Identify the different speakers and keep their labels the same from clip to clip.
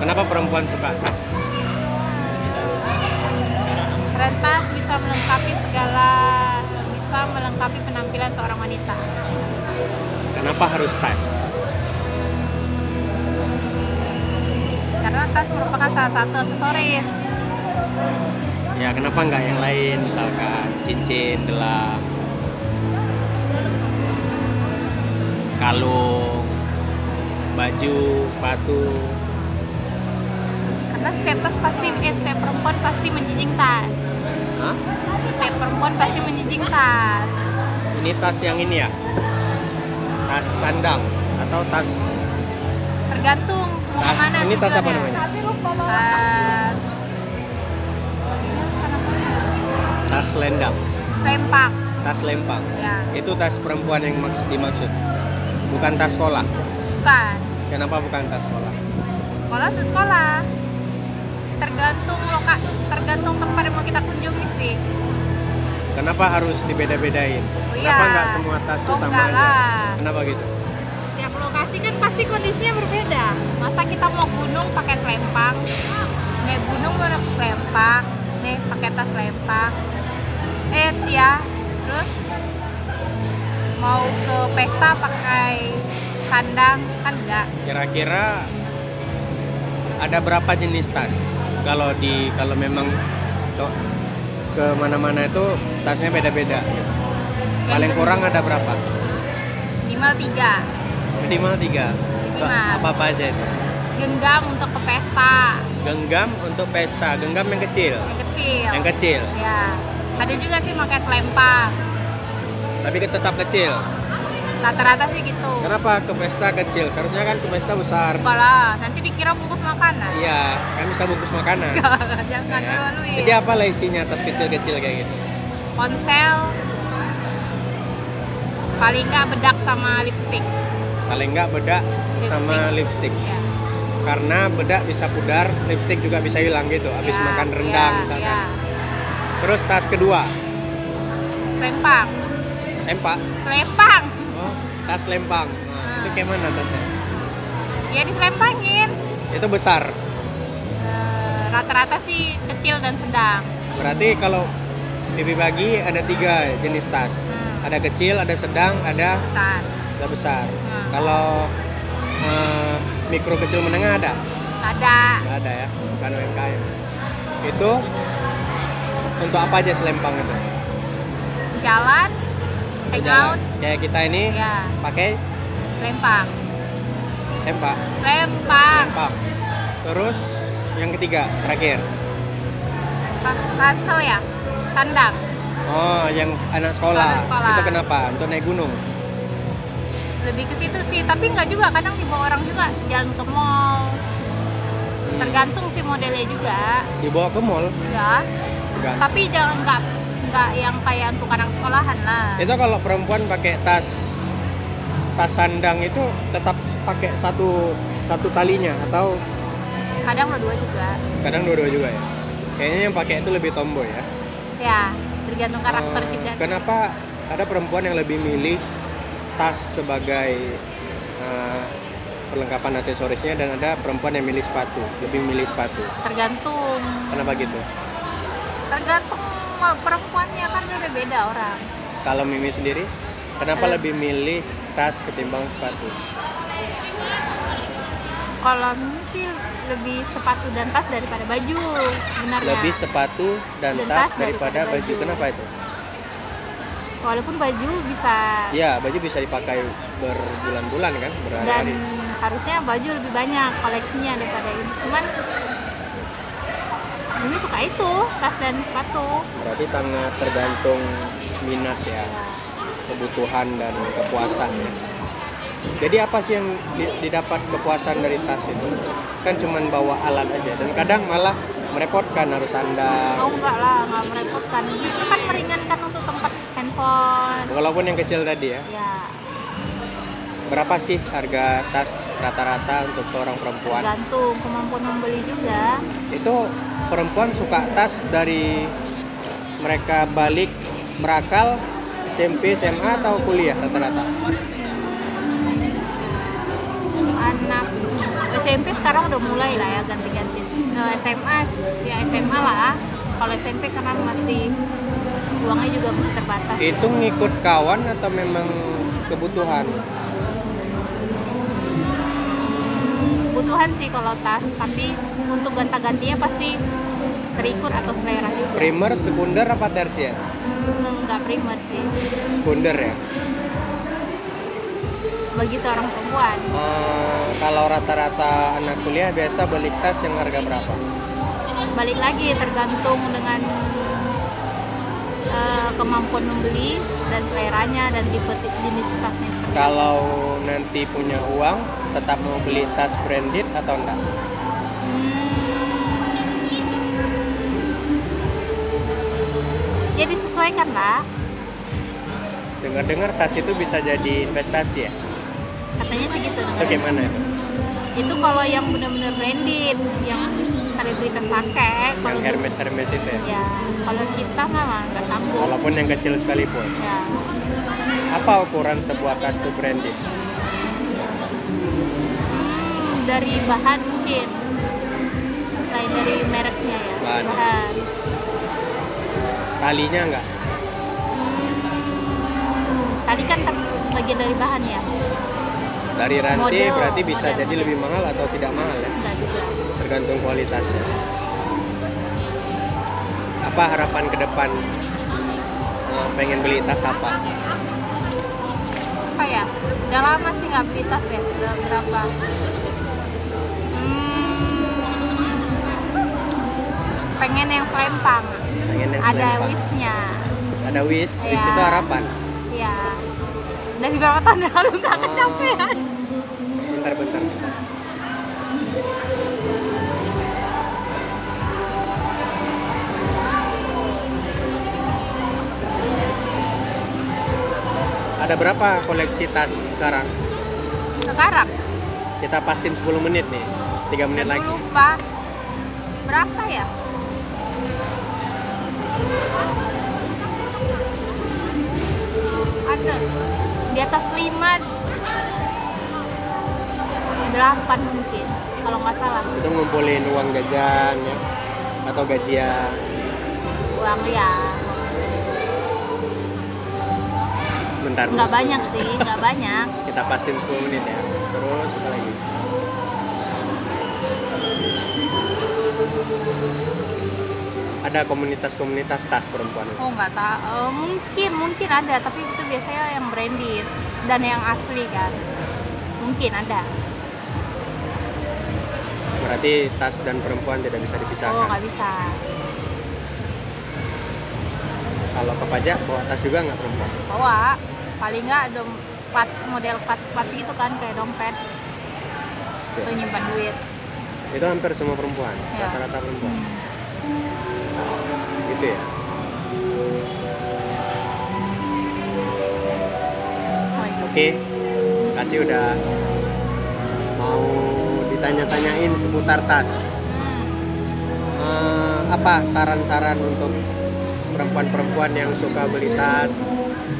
Speaker 1: Kenapa perempuan suka tas?
Speaker 2: Keren tas bisa melengkapi segala, bisa melengkapi penampilan seorang wanita.
Speaker 1: Kenapa harus tas?
Speaker 2: Karena tas merupakan salah satu aksesoris.
Speaker 1: Ya kenapa nggak yang lain? Misalkan cincin, gelang, kalung, baju, sepatu.
Speaker 2: Karena setiap tas pasti, eh, setiap perempuan pasti menjijing tas.
Speaker 1: Hah?
Speaker 2: Setiap perempuan pasti menjijing tas.
Speaker 1: Ini tas yang ini ya? Tas sandang atau tas
Speaker 2: Tergantung mau
Speaker 1: Tas-
Speaker 2: kemana
Speaker 1: ini tas apa
Speaker 2: tujuannya.
Speaker 1: namanya?
Speaker 2: Tas
Speaker 1: tas selendang,
Speaker 2: lempang.
Speaker 1: tas lempang?
Speaker 2: Ya,
Speaker 1: Itu tas perempuan yang maksud dimaksud. Bukan tas sekolah.
Speaker 2: bukan.
Speaker 1: Kenapa bukan tas sekolah?
Speaker 2: sekolah tuh sekolah tergantung loka tergantung tempat yang mau kita kunjungi sih
Speaker 1: Kenapa harus dibeda-bedain?
Speaker 2: Oh
Speaker 1: Kenapa
Speaker 2: iya.
Speaker 1: nggak semua tas tuh
Speaker 2: Oh,
Speaker 1: sama
Speaker 2: nggak
Speaker 1: aja?
Speaker 2: lah.
Speaker 1: Kenapa gitu?
Speaker 2: tiap lokasi kan pasti kondisinya berbeda masa kita mau gunung pakai selempang naik gunung mau pakai selempang nih pakai tas selempang eh ya terus mau ke pesta pakai sandang kan enggak
Speaker 1: Kira-kira ada berapa jenis tas? Kalau di kalau memang to- ke mana-mana itu tasnya beda-beda. gitu. Paling kurang ada berapa?
Speaker 2: minimal tiga
Speaker 1: Minimal tiga.
Speaker 2: Minimal.
Speaker 1: Apa apa aja itu?
Speaker 2: genggam untuk ke pesta
Speaker 1: Genggam untuk pesta, genggam yang kecil,
Speaker 2: yang kecil
Speaker 1: yang kecil,
Speaker 2: ya ada juga sih pakai selempang
Speaker 1: tapi tetap kecil.
Speaker 2: Oh. rata-rata sih gitu
Speaker 1: Kenapa ke pesta kecil? Seharusnya kan ke pesta besar.
Speaker 2: enggak lah nanti dikira bungkus makanan
Speaker 1: Iya, kan bisa bungkus makanan.
Speaker 2: jangan
Speaker 1: Ya.
Speaker 2: malu-maluin
Speaker 1: Jadi apa lah isinya tas kecil-kecil kayak gitu?
Speaker 2: ponsel paling nggak bedak sama lipstick
Speaker 1: Paling nggak bedak sama lipstick.
Speaker 2: ya
Speaker 1: Karena bedak bisa pudar, lipstick juga bisa hilang gitu. Habis
Speaker 2: Ya,
Speaker 1: makan rendang
Speaker 2: ya,
Speaker 1: misalkan.
Speaker 2: ya.
Speaker 1: Terus tas kedua,
Speaker 2: selempang
Speaker 1: sempak.
Speaker 2: selempang
Speaker 1: Oh, tas lempang. Nah,
Speaker 2: Ah.
Speaker 1: Itu kayak mana tasnya?
Speaker 2: ya diselempangin
Speaker 1: Itu besar.
Speaker 2: Eh, rata-rata sih kecil dan sedang
Speaker 1: Berarti kalau dibagi-bagi ada tiga jenis tas.
Speaker 2: Hmm.
Speaker 1: Ada kecil, ada sedang, ada
Speaker 2: besar
Speaker 1: ada besar.
Speaker 2: Hmm.
Speaker 1: Kalau eh, mikro kecil menengah ada?
Speaker 2: ada
Speaker 1: Nggak ada ya, bukan UMKM. Itu untuk apa aja selempang itu?
Speaker 2: jalan hangout
Speaker 1: Kayak kita ini
Speaker 2: ya
Speaker 1: pakai
Speaker 2: selempang
Speaker 1: sempak,
Speaker 2: selempang
Speaker 1: selempang. Terus yang ketiga, terakhir.
Speaker 2: ransel ya sandang
Speaker 1: Oh, yang anak sekolah.
Speaker 2: Anak sekolah.
Speaker 1: Itu kenapa? Untuk naik gunung.
Speaker 2: lebih ke situ sih tapi nggak juga kadang dibawa orang juga jalan ke mall tergantung sih modelnya juga
Speaker 1: Hmm. Dibawa ke mall
Speaker 2: ya
Speaker 1: juga.
Speaker 2: tapi jangan nggak nggak yang kayak untuk anak sekolahan lah
Speaker 1: Itu kalau perempuan pakai tas tas sandang itu tetap pakai satu satu talinya atau
Speaker 2: kadang berdua juga
Speaker 1: kadang dua-dua juga ya. Kayaknya yang pakai itu lebih tomboy ya.
Speaker 2: ya tergantung karakter
Speaker 1: Eh,
Speaker 2: juga
Speaker 1: Kenapa ada perempuan yang lebih milih tas sebagai eh, perlengkapan aksesorisnya dan ada perempuan yang milih sepatu, lebih milih sepatu.
Speaker 2: tergantung
Speaker 1: Kenapa gitu?
Speaker 2: tergantung perempuannya kan udah beda orang
Speaker 1: Kalau Mimi sendiri, kenapa
Speaker 2: Ada-
Speaker 1: lebih milih tas ketimbang sepatu?
Speaker 2: kalau ini sih lebih sepatu dan tas daripada baju sebenarnya
Speaker 1: Lebih sepatu dan,
Speaker 2: Dan
Speaker 1: tas,
Speaker 2: tas
Speaker 1: daripada
Speaker 2: daripada
Speaker 1: baju.
Speaker 2: baju.
Speaker 1: Kenapa itu?
Speaker 2: walaupun baju bisa
Speaker 1: Ya, baju bisa dipakai berbulan-bulan kan,
Speaker 2: dan
Speaker 1: berhari-hari.
Speaker 2: harusnya baju lebih banyak koleksinya daripada ini cuman ini suka itu tas dan sepatu
Speaker 1: Berarti sangat tergantung minat ya. kebutuhan dan kepuasan ya. Jadi apa sih yang di- didapat kepuasan dari tas itu? Kan cuman bawa alat aja dan kadang malah merepotkan harus
Speaker 2: oh
Speaker 1: sandal.
Speaker 2: enggak lah nggak merepotkan justru kan meringankan untuk tempat handphone
Speaker 1: Walaupun yang kecil tadi ya.
Speaker 2: ya
Speaker 1: Berapa sih harga tas rata-rata untuk seorang perempuan?
Speaker 2: tergantung kemampuan membeli juga
Speaker 1: Itu perempuan suka tas dari mereka balik berakal SMP, SMA atau kuliah rata-rata?
Speaker 2: anak SMP sekarang udah mulai lah ya ganti-ganti. Nah, SMA ya SMA lah. Kalau SMP karena masih uangnya juga masih terbatas.
Speaker 1: Itu ngikut kawan atau memang kebutuhan?
Speaker 2: Kebutuhan sih kalau tas, tapi untuk gonta-gantinya pasti terikut atau selera juga.
Speaker 1: Primer, sekunder, apa tersier?
Speaker 2: Hmm, Nggak primer sih.
Speaker 1: Sekunder ya.
Speaker 2: Bagi seorang perempuan
Speaker 1: Eh, kalau rata-rata anak kuliah biasa beli tas yang harga berapa?
Speaker 2: balik lagi tergantung dengan eh, kemampuan membeli dan seleranya dan tipe jenis tasnya seperti apa.
Speaker 1: Kalau nanti punya uang, tetap mau beli tas branded atau enggak?
Speaker 2: Ya disesuaikan lah.
Speaker 1: Dengar-dengar tas itu bisa jadi investasi ya?
Speaker 2: Katanya sih gitu.
Speaker 1: Itu gimana itu?
Speaker 2: Itu kalau yang benar-benar branded, yang selebritas pakai.
Speaker 1: Yang
Speaker 2: Kalau gitu,
Speaker 1: Hermes Hermes itu ya?
Speaker 2: ya, kalau kita mah nggak sanggup.
Speaker 1: Walaupun yang kecil sekalipun.
Speaker 2: Ya,
Speaker 1: Apa ukuran sebuah tas itu branded?
Speaker 2: Hmm, dari bahan mungkin. Selain dari mereknya ya.
Speaker 1: Bahan.
Speaker 2: bahan.
Speaker 1: Talinya enggak?
Speaker 2: Tadi kan ter- bagian dari bahan ya.
Speaker 1: Dari rantai
Speaker 2: Model,
Speaker 1: berarti bisa
Speaker 2: model,
Speaker 1: jadi
Speaker 2: model.
Speaker 1: lebih mahal atau tidak mahal ya?
Speaker 2: Enggak juga.
Speaker 1: Tergantung kualitasnya. Apa harapan ke depan? Eh, pengen beli tas apa?
Speaker 2: apa ya udah lama sih nggak beli tas ya udah berapa hmm, pengen yang selempang
Speaker 1: Pengen yang
Speaker 2: ada
Speaker 1: selempang.
Speaker 2: wishnya
Speaker 1: Ada wish, wish
Speaker 2: Ya.
Speaker 1: itu harapan.
Speaker 2: ya dari berapa tahun yang lalu nggak kecapean
Speaker 1: Bentar-bentar. Ada berapa koleksi tas sekarang?
Speaker 2: sekarang
Speaker 1: Kita pasin 10 menit nih. 3 menit lagi.
Speaker 2: lupa berapa ya ada di atas lima delapan mungkin kalau nggak salah
Speaker 1: Itu ngumpulin uang jajan ya atau gajian.
Speaker 2: uang ya
Speaker 1: Bentar. dulu,
Speaker 2: nggak
Speaker 1: 10
Speaker 2: banyak
Speaker 1: menit.
Speaker 2: sih nggak banyak
Speaker 1: Kita pasin 10 menit ya. Terus apa lagi? Ada komunitas-komunitas tas perempuan.
Speaker 2: oh nggak tahu Eh, mungkin mungkin ada tapi itu biasanya yang branded dan yang asli kan mungkin ada
Speaker 1: Berarti tas dan perempuan tidak bisa
Speaker 2: oh
Speaker 1: dipisahkan.
Speaker 2: nggak bisa
Speaker 1: Kalau ke pajak bawa tas juga nggak perempuan.
Speaker 2: bawa paling nggak dom pats model pats pats gitu kan kayak dompet
Speaker 1: Oke.
Speaker 2: tuh nyimpan duit
Speaker 1: Itu hampir semua perempuan,
Speaker 2: Iya. Hmm.
Speaker 1: rata-rata perempuan. Gitu ya.
Speaker 2: Oh, iya.
Speaker 1: Oke. Kasih udah mau ditanya-tanyain seputar tas.
Speaker 2: Hmm.
Speaker 1: Eh, apa saran-saran untuk perempuan-perempuan yang suka beli tas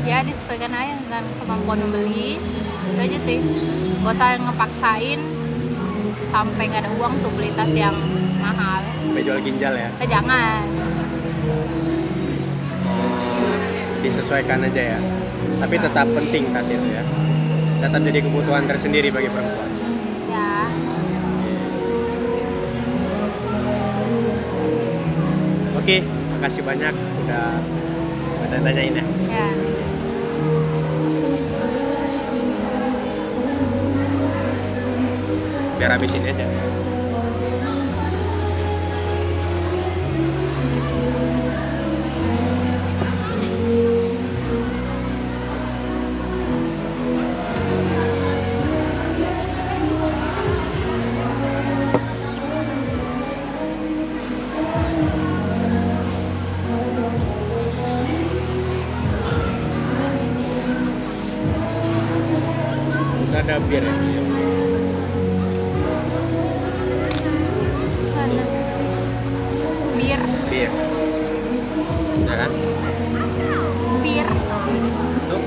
Speaker 2: ya disesuaikan aja dengan kemampuan membeli itu aja sih gak usah ngepaksain sampai nggak ada uang tuh beli tas yang mahal
Speaker 1: sampai jual ginjal ya?
Speaker 2: Eh, jangan
Speaker 1: Eh, disesuaikan aja ya. Tapi tetap penting tas itu ya. Tetap jadi kebutuhan tersendiri bagi perempuan.
Speaker 2: ya
Speaker 1: Oke, makasih banyak udah tanya-tanyain ya.
Speaker 2: ya
Speaker 1: Biar habisin aja. Nggak ada bir ya?
Speaker 2: bir
Speaker 1: Bir. Ya kan?
Speaker 2: bir
Speaker 1: Tuh.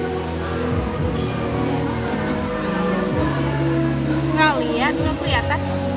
Speaker 2: nggak lihat nggak kelihatan